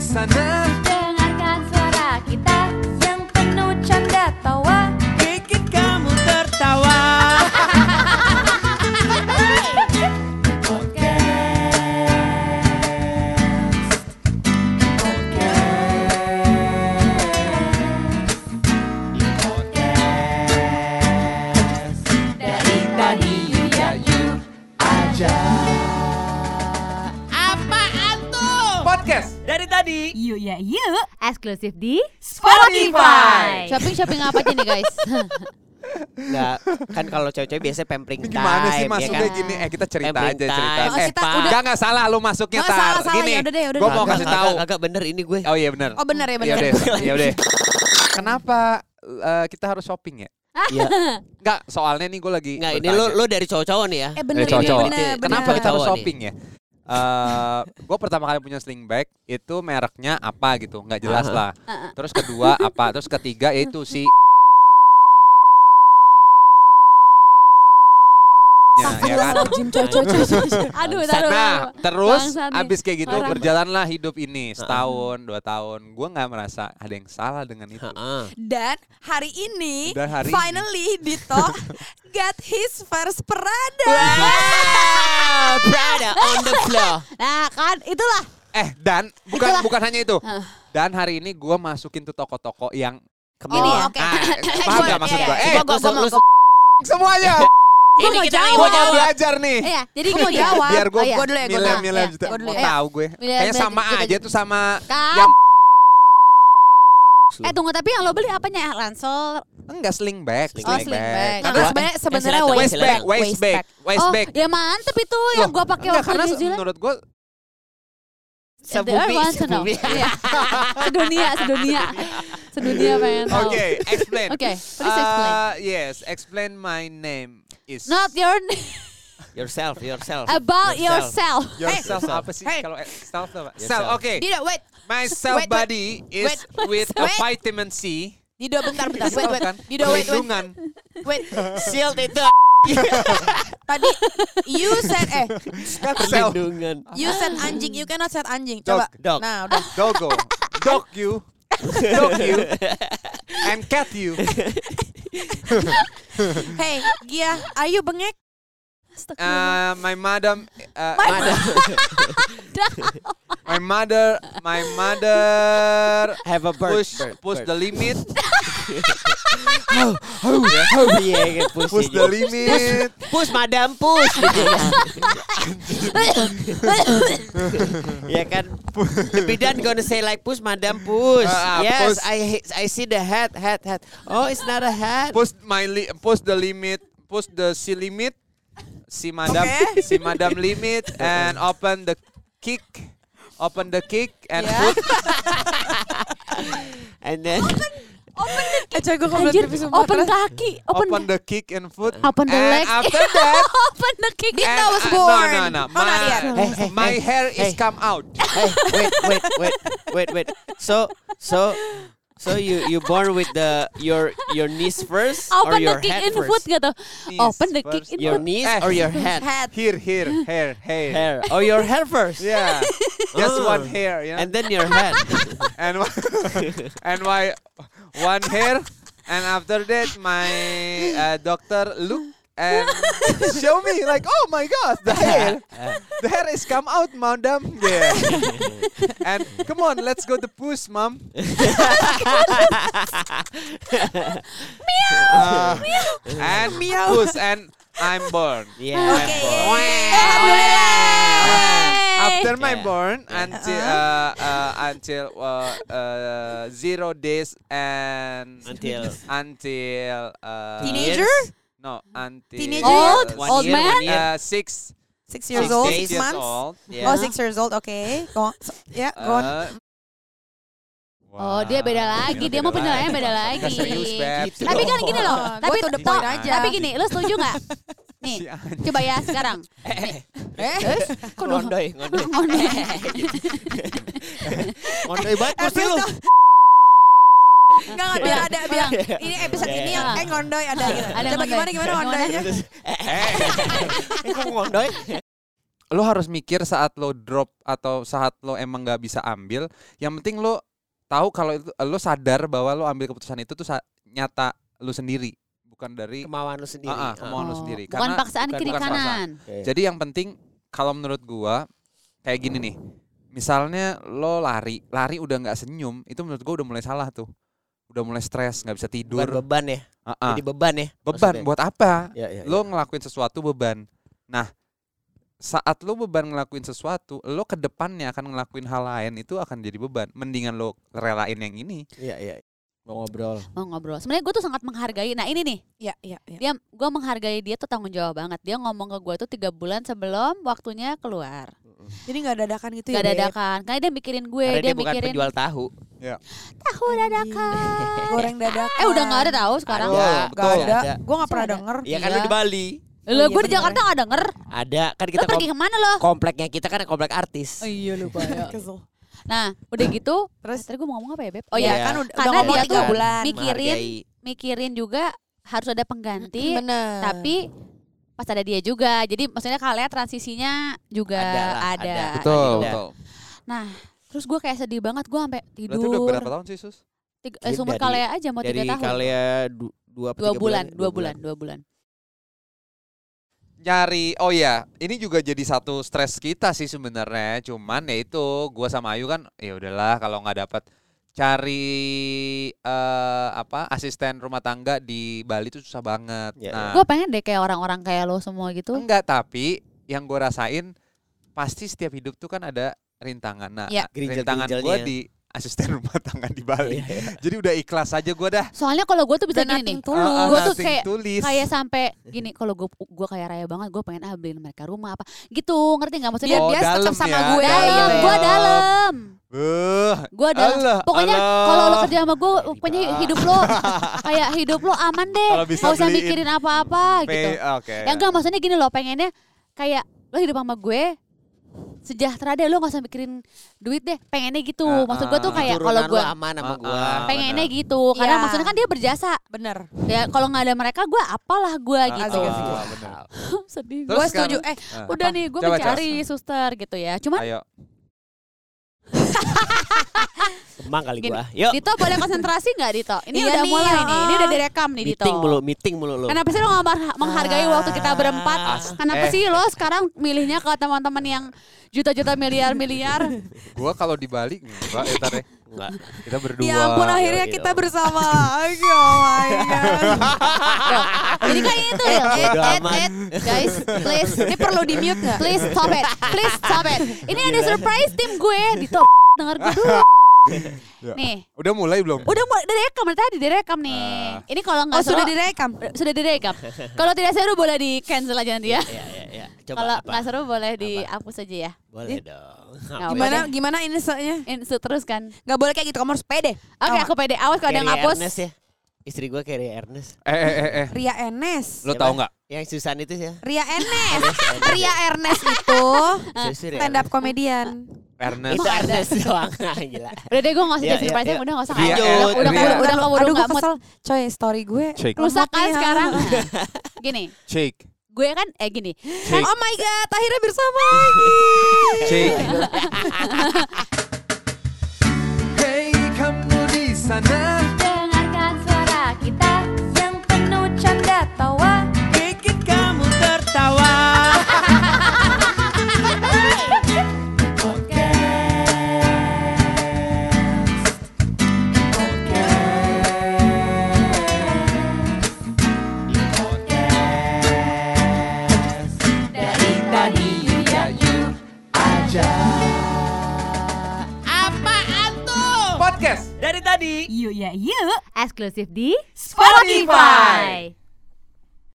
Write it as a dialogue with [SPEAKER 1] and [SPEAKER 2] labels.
[SPEAKER 1] sana
[SPEAKER 2] Dengarkan suara kita yang penuh canda tawa
[SPEAKER 1] Bikin kamu tertawa
[SPEAKER 2] Dari tadi you ya you
[SPEAKER 1] Podcast Dari tadi
[SPEAKER 3] Yuk ya yuk
[SPEAKER 2] Eksklusif di
[SPEAKER 1] Spotify.
[SPEAKER 3] Shopping shopping apa aja nih guys?
[SPEAKER 4] Enggak, kan kalau cewek-cewek biasanya pampering
[SPEAKER 1] Ini
[SPEAKER 4] time.
[SPEAKER 1] gimana sih
[SPEAKER 4] ya
[SPEAKER 1] masuknya
[SPEAKER 4] kan?
[SPEAKER 1] gini? Eh kita cerita
[SPEAKER 4] Pampering
[SPEAKER 1] aja
[SPEAKER 4] time.
[SPEAKER 1] cerita.
[SPEAKER 3] Oh,
[SPEAKER 1] Eh,
[SPEAKER 3] kita udah-
[SPEAKER 1] Gak gak salah lu masuknya
[SPEAKER 3] Nggak
[SPEAKER 1] tar.
[SPEAKER 3] salah, salah.
[SPEAKER 1] Gini,
[SPEAKER 3] Yaudah deh, yaudah
[SPEAKER 1] gua
[SPEAKER 3] deh.
[SPEAKER 1] mau
[SPEAKER 4] Agak-
[SPEAKER 1] kasih tahu.
[SPEAKER 4] Agak, agak bener ini gue.
[SPEAKER 1] Oh iya benar.
[SPEAKER 3] Oh bener ya
[SPEAKER 1] Iya
[SPEAKER 3] bener.
[SPEAKER 1] deh, iya deh. Kenapa eh, kita harus shopping ya?
[SPEAKER 4] Iya.
[SPEAKER 1] Enggak, soalnya nih gue lagi
[SPEAKER 4] Enggak, ini
[SPEAKER 1] bertanya.
[SPEAKER 4] lo lo dari cowok-cowok nih ya.
[SPEAKER 3] Eh bener
[SPEAKER 1] Eh,
[SPEAKER 3] ini
[SPEAKER 1] cocok.
[SPEAKER 3] bener.
[SPEAKER 4] Itu-
[SPEAKER 1] Kenapa
[SPEAKER 4] Benar.
[SPEAKER 1] kita harus
[SPEAKER 4] Cowok nih.
[SPEAKER 1] shopping ya? Eh, gue pertama kali punya sling bag itu mereknya apa gitu, nggak jelas lah.
[SPEAKER 4] Aha.
[SPEAKER 1] Terus kedua apa? Terus ketiga yaitu si ya, ya kan?
[SPEAKER 3] Astagfirullahaladzim, coy, coy, coy, coy, coy. Aduh, taruh.
[SPEAKER 1] Nah,
[SPEAKER 3] taruh.
[SPEAKER 1] terus
[SPEAKER 3] Bangsat nih.
[SPEAKER 1] abis kayak gitu
[SPEAKER 3] Orang.
[SPEAKER 1] berjalanlah hidup ini setahun, dua tahun. Gue nggak merasa ada yang salah dengan itu.
[SPEAKER 4] Heeh.
[SPEAKER 5] Dan hari ini
[SPEAKER 1] Dan hari ini.
[SPEAKER 5] finally Dito got his first Prada.
[SPEAKER 4] Wow, Ah, Prada on the floor.
[SPEAKER 3] Nah kan itulah
[SPEAKER 1] Eh dan bukan
[SPEAKER 3] Itulah.
[SPEAKER 1] bukan hanya itu.
[SPEAKER 3] Ah.
[SPEAKER 1] Dan hari ini gue masukin tuh toko-toko yang
[SPEAKER 4] Kemana?
[SPEAKER 3] Ini ya?
[SPEAKER 5] Oh, oke.
[SPEAKER 1] Ah,
[SPEAKER 5] Eh,
[SPEAKER 1] paham
[SPEAKER 5] gua-
[SPEAKER 1] nggak maksud
[SPEAKER 5] iya,
[SPEAKER 1] gue?
[SPEAKER 5] iya.
[SPEAKER 1] Eh,
[SPEAKER 4] Gua- gua- gua- gua-
[SPEAKER 1] semuanya.
[SPEAKER 4] Ini
[SPEAKER 3] mau
[SPEAKER 4] kita lagi
[SPEAKER 3] jawab.
[SPEAKER 1] Gue
[SPEAKER 4] mau
[SPEAKER 1] mau
[SPEAKER 4] jawab.
[SPEAKER 1] belajar nih.
[SPEAKER 3] Iya jadi
[SPEAKER 5] Gua mau
[SPEAKER 3] gini
[SPEAKER 5] jawab.
[SPEAKER 1] biar gue
[SPEAKER 3] Oh, iya.
[SPEAKER 5] Gua dulu ya, gua
[SPEAKER 1] milem
[SPEAKER 5] dulu.
[SPEAKER 1] milem
[SPEAKER 5] Iya,
[SPEAKER 1] juta
[SPEAKER 5] gua dulu
[SPEAKER 1] mau
[SPEAKER 5] ya.
[SPEAKER 1] gitu. tahu gue
[SPEAKER 3] Milem,
[SPEAKER 1] kayaknya
[SPEAKER 3] milem,
[SPEAKER 1] sama
[SPEAKER 3] kita-
[SPEAKER 1] aja tuh sama
[SPEAKER 3] Kan?
[SPEAKER 1] yang
[SPEAKER 3] Eh tunggu tapi yang lo beli apanya? Lansel
[SPEAKER 1] enggak sling bag
[SPEAKER 4] Sling
[SPEAKER 3] Oh
[SPEAKER 4] bag.
[SPEAKER 3] sling bag
[SPEAKER 1] Karena
[SPEAKER 3] Nah, sebenarnya
[SPEAKER 4] silakan,
[SPEAKER 3] sebenarnya waist
[SPEAKER 1] waist bag
[SPEAKER 3] bag
[SPEAKER 4] silakan.
[SPEAKER 1] waist bag waist
[SPEAKER 3] Oh
[SPEAKER 1] bag
[SPEAKER 3] ya mantep itu yang
[SPEAKER 1] Loh,
[SPEAKER 3] gua pakai
[SPEAKER 1] enggak,
[SPEAKER 3] waktu
[SPEAKER 1] karena
[SPEAKER 3] New Zealand
[SPEAKER 1] menurut gue
[SPEAKER 4] Sebumi,
[SPEAKER 3] wants to know.
[SPEAKER 4] sebumi.
[SPEAKER 3] Iya. Sedunia Sedunia Sedunia pengen tahu
[SPEAKER 1] oke explain
[SPEAKER 3] Oh. Oke please explain
[SPEAKER 1] Uh, yes explain my name is
[SPEAKER 3] Not your name
[SPEAKER 4] Yourself, yourself.
[SPEAKER 3] About yourself
[SPEAKER 1] yourself
[SPEAKER 4] Hey.
[SPEAKER 1] apa sih
[SPEAKER 5] Hey.
[SPEAKER 1] kalau self apa self
[SPEAKER 4] Yourself.
[SPEAKER 1] oke
[SPEAKER 5] Dido, wait.
[SPEAKER 1] my self
[SPEAKER 5] Wait, wait.
[SPEAKER 1] body is with a
[SPEAKER 5] Wait.
[SPEAKER 1] vitamin C
[SPEAKER 5] Dido bentar, bentar. Wait, wait.
[SPEAKER 1] Kan?
[SPEAKER 5] Dido, wait, wait.
[SPEAKER 1] Perlindungan.
[SPEAKER 5] Wait.
[SPEAKER 4] Shield itu
[SPEAKER 5] Tadi you said eh
[SPEAKER 1] kan self
[SPEAKER 4] perlindungan.
[SPEAKER 5] you said anjing, you cannot said anjing. Coba.
[SPEAKER 4] Dog.
[SPEAKER 5] Nah, udah.
[SPEAKER 1] dogo dog you dog you and cat you
[SPEAKER 5] Hey, Gia, are you bengek?
[SPEAKER 1] Uh, my madam, uh, mother, my
[SPEAKER 3] My
[SPEAKER 1] mother, my mother
[SPEAKER 4] Have a bird.
[SPEAKER 1] push
[SPEAKER 4] bird,
[SPEAKER 1] push
[SPEAKER 4] bird.
[SPEAKER 1] the limit,
[SPEAKER 4] Iya, iya, push.
[SPEAKER 1] push the
[SPEAKER 4] iya, iya.
[SPEAKER 1] limit.
[SPEAKER 4] Push, madam, push. gitu ya. Ya kan? The bidan gonna say like push, madam, push.
[SPEAKER 1] Ah, ah,
[SPEAKER 4] yes,
[SPEAKER 1] push.
[SPEAKER 4] I I see the hat, hat, hat. Oh, it's not a hat.
[SPEAKER 1] Push my li push the limit, push the si limit, si madam,
[SPEAKER 5] Okay.
[SPEAKER 1] si madam limit and open the kick, open the kick and
[SPEAKER 5] Yeah.
[SPEAKER 1] put
[SPEAKER 4] And then
[SPEAKER 5] Eh, coy, gue kebelet
[SPEAKER 3] Anjir
[SPEAKER 5] pipis sumpah.
[SPEAKER 3] open
[SPEAKER 5] Terus-
[SPEAKER 3] kaki Open
[SPEAKER 1] open the kick and foot.
[SPEAKER 3] Open the
[SPEAKER 1] and
[SPEAKER 3] legs.
[SPEAKER 1] After that,
[SPEAKER 3] Open the kick
[SPEAKER 1] and,
[SPEAKER 5] That was
[SPEAKER 1] uh,
[SPEAKER 5] born.
[SPEAKER 1] No, no, no.
[SPEAKER 5] Oh, not yet.
[SPEAKER 4] Hey,
[SPEAKER 1] My,
[SPEAKER 4] hey,
[SPEAKER 1] my
[SPEAKER 4] hey,
[SPEAKER 1] hair is
[SPEAKER 4] hey.
[SPEAKER 1] come out.
[SPEAKER 4] hey, wait, wait, wait, wait, wait. So, so, so you you born with the your your knees first or
[SPEAKER 3] Open the
[SPEAKER 4] your
[SPEAKER 3] kick
[SPEAKER 4] head
[SPEAKER 3] in
[SPEAKER 4] first?
[SPEAKER 3] foot gitu Open the kick
[SPEAKER 1] first.
[SPEAKER 3] in
[SPEAKER 4] Your
[SPEAKER 3] foot
[SPEAKER 4] knees
[SPEAKER 1] Eh.
[SPEAKER 4] or your head?
[SPEAKER 5] Head.
[SPEAKER 1] Here, here, hair, hair.
[SPEAKER 4] Hair. Oh, your hair first.
[SPEAKER 1] Yeah, just
[SPEAKER 4] Oh.
[SPEAKER 1] one hair, you know?
[SPEAKER 4] And then your head.
[SPEAKER 1] and one- and why one hair, and after that my uh, doctor look and show me like, oh my gosh, the hair, the hair is come out, madam. Yeah, and come on, let's go to push, mom. meow, meow, Uh, and meow. push, and I'm born.
[SPEAKER 4] yeah.
[SPEAKER 5] Okay.
[SPEAKER 4] Wah.
[SPEAKER 1] After my
[SPEAKER 4] Yeah.
[SPEAKER 1] born until uh, uh, until uh, uh, zero days and
[SPEAKER 4] Until
[SPEAKER 1] until uh,
[SPEAKER 5] Teenager?
[SPEAKER 1] No, until
[SPEAKER 4] Iya,
[SPEAKER 5] Teenager?
[SPEAKER 3] Uh-huh. Old
[SPEAKER 1] uh,
[SPEAKER 4] One
[SPEAKER 3] Old
[SPEAKER 4] year,
[SPEAKER 3] man
[SPEAKER 4] one year.
[SPEAKER 1] uh, six
[SPEAKER 5] Six ya, years
[SPEAKER 4] Six
[SPEAKER 5] old,
[SPEAKER 4] days.
[SPEAKER 5] six
[SPEAKER 1] years
[SPEAKER 5] months.
[SPEAKER 1] old.
[SPEAKER 3] Iya.
[SPEAKER 1] Yeah.
[SPEAKER 5] Oh, six years old, okay. Go on. So- Yeah, go on.
[SPEAKER 1] Uh,
[SPEAKER 3] Oh dia beda lagi Dia mau penilaiannya beda
[SPEAKER 1] Nggak
[SPEAKER 3] lagi
[SPEAKER 1] serius, Beb.
[SPEAKER 4] Gitu.
[SPEAKER 3] Tapi kan gini loh
[SPEAKER 5] Oh,
[SPEAKER 3] Tapi
[SPEAKER 5] gua to the
[SPEAKER 3] to-
[SPEAKER 5] point aja.
[SPEAKER 3] Tapi gini Lo setuju gak? Nih
[SPEAKER 1] Si anjing.
[SPEAKER 3] Coba ya sekarang
[SPEAKER 5] Eh,
[SPEAKER 3] Kok dong
[SPEAKER 4] Ngondoi, ngondoi. Ngondoi banget
[SPEAKER 5] Eh,
[SPEAKER 4] kursi lu.
[SPEAKER 5] please enggak, enggak, biar ada, biar ini episode ini yang eh ngondoy ada gitu.
[SPEAKER 3] Ada
[SPEAKER 5] Coba
[SPEAKER 3] ngondoy.
[SPEAKER 5] gimana, gimana ngondoynya?
[SPEAKER 4] Eh, kok ngondoi?
[SPEAKER 1] lo harus mikir saat lo drop atau saat lo emang nggak bisa ambil yang penting lo tahu kalau itu lo sadar bahwa lo ambil keputusan itu tuh sa- nyata lo sendiri bukan dari
[SPEAKER 4] kemauan lu sendiri.
[SPEAKER 1] Ah, ah,
[SPEAKER 4] Ah.
[SPEAKER 1] kemauan lo sendiri
[SPEAKER 3] Bukan
[SPEAKER 1] Karena-
[SPEAKER 3] paksaan
[SPEAKER 4] bukan-
[SPEAKER 3] kiri
[SPEAKER 1] bukan paksaan.
[SPEAKER 3] kanan.
[SPEAKER 4] Oke.
[SPEAKER 1] jadi yang penting kalau menurut gua kayak gini nih. Misalnya lo lari, lari udah nggak senyum, itu menurut gua udah mulai salah tuh. Udah mulai stres, nggak bisa
[SPEAKER 4] Bukan
[SPEAKER 1] tidur.
[SPEAKER 4] beban ya.
[SPEAKER 1] Ah-ah.
[SPEAKER 4] Jadi beban ya.
[SPEAKER 1] Beban
[SPEAKER 4] maksudnya.
[SPEAKER 1] buat apa?
[SPEAKER 4] Ya, ya, ya.
[SPEAKER 1] Lo ngelakuin sesuatu beban. Nah, saat lo beban ngelakuin sesuatu, lo ke depannya akan ngelakuin hal lain itu akan jadi beban. Mendingan lo relain yang ini.
[SPEAKER 4] Iya, iya. Mau ngobrol.
[SPEAKER 3] Mau Oh, ngobrol. Sebenarnya gue tuh sangat menghargai. Nah ini nih,
[SPEAKER 5] Iya, iya, iya.
[SPEAKER 3] dia gue menghargai dia tuh tanggung jawab banget. Dia ngomong ke gue tuh tiga bulan sebelum waktunya keluar.
[SPEAKER 5] Jadi nggak dadakan gitu
[SPEAKER 3] Gak
[SPEAKER 5] ya. Beb?
[SPEAKER 3] dadakan. Karena dia mikirin gue,
[SPEAKER 4] Karena
[SPEAKER 3] ya, dia,
[SPEAKER 4] dia bukan
[SPEAKER 3] mikirin
[SPEAKER 4] penjual tahu.
[SPEAKER 3] tahu dadakan.
[SPEAKER 5] Goreng dadakan.
[SPEAKER 3] Eh udah nggak ada tahu sekarang.
[SPEAKER 1] Ada.
[SPEAKER 4] Ada,
[SPEAKER 5] Gak
[SPEAKER 1] Betul.
[SPEAKER 5] ada.
[SPEAKER 4] Iya, Ada.
[SPEAKER 5] Gue nggak pernah
[SPEAKER 3] Ada.
[SPEAKER 5] denger.
[SPEAKER 4] Iya kan lu di Bali.
[SPEAKER 3] Lo
[SPEAKER 5] Oh,
[SPEAKER 3] gue
[SPEAKER 5] iya
[SPEAKER 3] di
[SPEAKER 5] bener.
[SPEAKER 3] Jakarta nggak denger.
[SPEAKER 4] Ada kan
[SPEAKER 3] Lo
[SPEAKER 4] kita
[SPEAKER 3] pergi
[SPEAKER 4] kom-
[SPEAKER 3] kemana lo?
[SPEAKER 4] kompleknya kita kan komplek
[SPEAKER 5] Oh,
[SPEAKER 4] artis.
[SPEAKER 3] iya lupa
[SPEAKER 5] Kesel.
[SPEAKER 3] Nah udah gitu.
[SPEAKER 5] ya. Terus?
[SPEAKER 3] Terus tadi gue mau ngomong apa ya beb? Oh
[SPEAKER 4] Iya.
[SPEAKER 3] ya,
[SPEAKER 5] kan udah,
[SPEAKER 3] Karena
[SPEAKER 5] udah ngomong
[SPEAKER 3] dia
[SPEAKER 5] tiga
[SPEAKER 3] tuh
[SPEAKER 5] bulan.
[SPEAKER 3] mikirin
[SPEAKER 4] Menghargai.
[SPEAKER 3] mikirin juga harus ada pengganti.
[SPEAKER 5] Bener.
[SPEAKER 3] Tapi pas ada dia juga. Jadi maksudnya kalian transisinya juga
[SPEAKER 4] Ada lah,
[SPEAKER 3] ada.
[SPEAKER 4] ada.
[SPEAKER 1] Betul,
[SPEAKER 4] Ada.
[SPEAKER 1] betul.
[SPEAKER 3] Nah terus gue kayak sedih banget. Gue sampai tidur.
[SPEAKER 1] Berarti udah berapa tahun sih, Sus?
[SPEAKER 3] Tiga- eh,
[SPEAKER 4] Jadi
[SPEAKER 3] sumur
[SPEAKER 4] dari-
[SPEAKER 3] kalea aja mau tiga
[SPEAKER 4] Dari
[SPEAKER 3] tahun.
[SPEAKER 4] Kalea du- dua apa
[SPEAKER 3] dua
[SPEAKER 4] tiga
[SPEAKER 3] bulan, dua bulan, dua bulan.
[SPEAKER 5] Iya.
[SPEAKER 1] nyari oh ya ini juga jadi satu stres kita sih sebenarnya cuman ya itu gua sama Ayu kan ya udahlah kalau nggak dapat cari eh apa asisten rumah tangga di Bali itu susah banget
[SPEAKER 4] Ya, ya.
[SPEAKER 1] nah
[SPEAKER 3] Gue pengen deh kayak orang-orang kayak lo semua
[SPEAKER 5] Iya.
[SPEAKER 3] gitu.
[SPEAKER 1] enggak tapi yang gua rasain pasti setiap hidup tuh kan ada rintangan nah
[SPEAKER 3] Ya.
[SPEAKER 1] rintangan gua
[SPEAKER 4] Iya. Gerinjal-gerinjalnya.
[SPEAKER 1] di asisten rumah tangga di Bali
[SPEAKER 4] Iya, iya.
[SPEAKER 1] jadi udah ikhlas aja gua dah Ah,
[SPEAKER 3] Soalnya kalau gue tuh bisa
[SPEAKER 5] Udah
[SPEAKER 3] gini
[SPEAKER 5] nothing
[SPEAKER 3] nih.
[SPEAKER 5] to lose.
[SPEAKER 3] Gua tuh
[SPEAKER 1] Nothing
[SPEAKER 3] kayak-
[SPEAKER 1] to lose.
[SPEAKER 3] Kayak sampai gini kalau gue gue kayak raya banget gue pengen ah beliin mereka rumah apa gitu ngerti nggak maksudnya
[SPEAKER 1] Oh,
[SPEAKER 5] dia tetap
[SPEAKER 1] dalam
[SPEAKER 5] sama
[SPEAKER 1] ya,
[SPEAKER 5] gue,
[SPEAKER 1] dalam.
[SPEAKER 3] dalam gue dalam
[SPEAKER 1] Beuh,
[SPEAKER 3] gue dalam
[SPEAKER 1] Allah,
[SPEAKER 3] pokoknya
[SPEAKER 1] Allah.
[SPEAKER 3] kalau lo kerja sama gue
[SPEAKER 4] Dari
[SPEAKER 3] pokoknya
[SPEAKER 4] bawah.
[SPEAKER 3] hidup lo kayak hidup lo aman deh
[SPEAKER 1] Kalau bisa
[SPEAKER 3] Eh, nggak usah
[SPEAKER 1] beliin
[SPEAKER 3] mikirin apa-apa gitu
[SPEAKER 1] Pe- oke
[SPEAKER 3] ya enggak maksudnya gini lo pengennya kayak lo hidup sama gue sejahtera deh lo nggak usah mikirin duit deh pengennya gitu
[SPEAKER 1] Ah,
[SPEAKER 3] maksud gue tuh
[SPEAKER 1] ah.
[SPEAKER 3] kayak
[SPEAKER 4] Nah, Turunan
[SPEAKER 3] kalau
[SPEAKER 4] lu
[SPEAKER 3] gue
[SPEAKER 4] aman sama
[SPEAKER 1] Ah,
[SPEAKER 4] gua.
[SPEAKER 1] ah.
[SPEAKER 3] pengennya
[SPEAKER 1] bener.
[SPEAKER 3] gitu karena
[SPEAKER 5] Iya.
[SPEAKER 3] maksudnya kan dia berjasa
[SPEAKER 5] Bener.
[SPEAKER 3] ya kalau nggak ada mereka gue apalah gue
[SPEAKER 1] Ah,
[SPEAKER 3] gitu
[SPEAKER 1] ah, bener.
[SPEAKER 3] sedih
[SPEAKER 1] Terus
[SPEAKER 5] Gue
[SPEAKER 1] sekarang-
[SPEAKER 5] setuju. Eh,
[SPEAKER 1] Ah.
[SPEAKER 3] udah nih gue
[SPEAKER 1] Coba,
[SPEAKER 3] mencari suster gitu ya cuman
[SPEAKER 1] ayo
[SPEAKER 4] Emang kali
[SPEAKER 3] Gini,
[SPEAKER 4] gua. Yuk.
[SPEAKER 3] Dito boleh konsentrasi nggak Dito ini
[SPEAKER 5] Iya
[SPEAKER 3] udah
[SPEAKER 5] nih,
[SPEAKER 3] mulai
[SPEAKER 5] ya.
[SPEAKER 3] nih ini udah direkam nih Dito
[SPEAKER 4] Meeting mulu, meeting mulu lu.
[SPEAKER 3] Kenapa sih lo nggak mar- menghargai waktu kita berempat?
[SPEAKER 1] As-
[SPEAKER 3] Kenapa
[SPEAKER 1] eh.
[SPEAKER 3] sih lo sekarang milihnya ke teman-teman yang juta-juta miliar-miliar?
[SPEAKER 1] gua kalau di Bali enggak ya, tar ya.
[SPEAKER 4] Enggak.
[SPEAKER 1] kita berdua
[SPEAKER 5] ya ampun akhirnya
[SPEAKER 4] Yo, yo.
[SPEAKER 5] kita bersama lagi. Oh my God.
[SPEAKER 3] Jadi kan itu ya.
[SPEAKER 4] Bodo
[SPEAKER 3] Eh, eh,
[SPEAKER 4] amat.
[SPEAKER 3] eh, Guys, please.
[SPEAKER 5] Ini perlu di mute nggak?
[SPEAKER 3] Please stop it. Please stop it. Ini ada surprise tim gue. Dito, denger gue dulu.
[SPEAKER 1] Ya.
[SPEAKER 3] Nih,
[SPEAKER 1] Udah mulai belum?
[SPEAKER 3] udah mulai direkam. dari Tadi direkam nih. Ini kalau nggak
[SPEAKER 5] Oh sudah
[SPEAKER 3] seru-
[SPEAKER 5] direkam.
[SPEAKER 3] sudah direkam. Kalau tidak seru boleh di cancel aja nanti ya.
[SPEAKER 4] Ya, ya, ya. Coba
[SPEAKER 3] Kalau
[SPEAKER 4] apa?
[SPEAKER 3] nggak seru boleh dihapus aja ya.
[SPEAKER 4] Boleh dong.
[SPEAKER 3] Nggak apa-apa
[SPEAKER 5] Gimana
[SPEAKER 3] deh.
[SPEAKER 5] gimana ini soalnya?
[SPEAKER 3] Insert terus kan.
[SPEAKER 5] Gak boleh kayak gitu. Kamu harus pede.
[SPEAKER 3] Oke,
[SPEAKER 5] Tau
[SPEAKER 3] aku pede. Awas kalau ada yang
[SPEAKER 4] Carrie
[SPEAKER 3] ngapus.
[SPEAKER 4] Ernest ya. Istri gua kayak Ria Ernest.
[SPEAKER 1] Eh eh eh eh.
[SPEAKER 5] nggak? Ria Enes.
[SPEAKER 1] Lo
[SPEAKER 4] Siapa?
[SPEAKER 1] tau nggak?
[SPEAKER 4] Yang Susan itu ya.
[SPEAKER 5] Ria Enes. Iya
[SPEAKER 4] Ernest, Ernest.
[SPEAKER 5] Ria Ernest itu
[SPEAKER 4] Serius, Ria
[SPEAKER 5] stand up komedian.
[SPEAKER 1] Ernest.
[SPEAKER 4] Itu Ernest doang. Gila.
[SPEAKER 3] Udah deh gue gak usah
[SPEAKER 4] Iya,
[SPEAKER 3] jadi
[SPEAKER 4] iya,
[SPEAKER 3] surprise-nya,
[SPEAKER 4] iya.
[SPEAKER 3] udah gak usah
[SPEAKER 1] Ria,
[SPEAKER 3] Udah,
[SPEAKER 1] eh,
[SPEAKER 3] udah, udah,
[SPEAKER 1] Ria.
[SPEAKER 3] udah, udah, keburu
[SPEAKER 5] Aduh
[SPEAKER 3] nggak
[SPEAKER 5] gue
[SPEAKER 3] mood.
[SPEAKER 5] kesel. Coy story gue.
[SPEAKER 1] Cek.
[SPEAKER 3] Rusak kan
[SPEAKER 5] lemotnya.
[SPEAKER 3] sekarang Gini,
[SPEAKER 1] Cik,
[SPEAKER 3] gue kan, eh gini
[SPEAKER 1] cik,
[SPEAKER 5] Oh my god, akhirnya bersama lagi.
[SPEAKER 1] cik. Hey kamu di sana,
[SPEAKER 2] Dengarkan suara kita yang penuh canda tawa
[SPEAKER 4] Bikin kamu tertawa.
[SPEAKER 2] Dari tadi ya you
[SPEAKER 1] podcast.
[SPEAKER 4] Dari tadi.
[SPEAKER 3] Yuk ya yuk Eksklusif di
[SPEAKER 4] Spotify.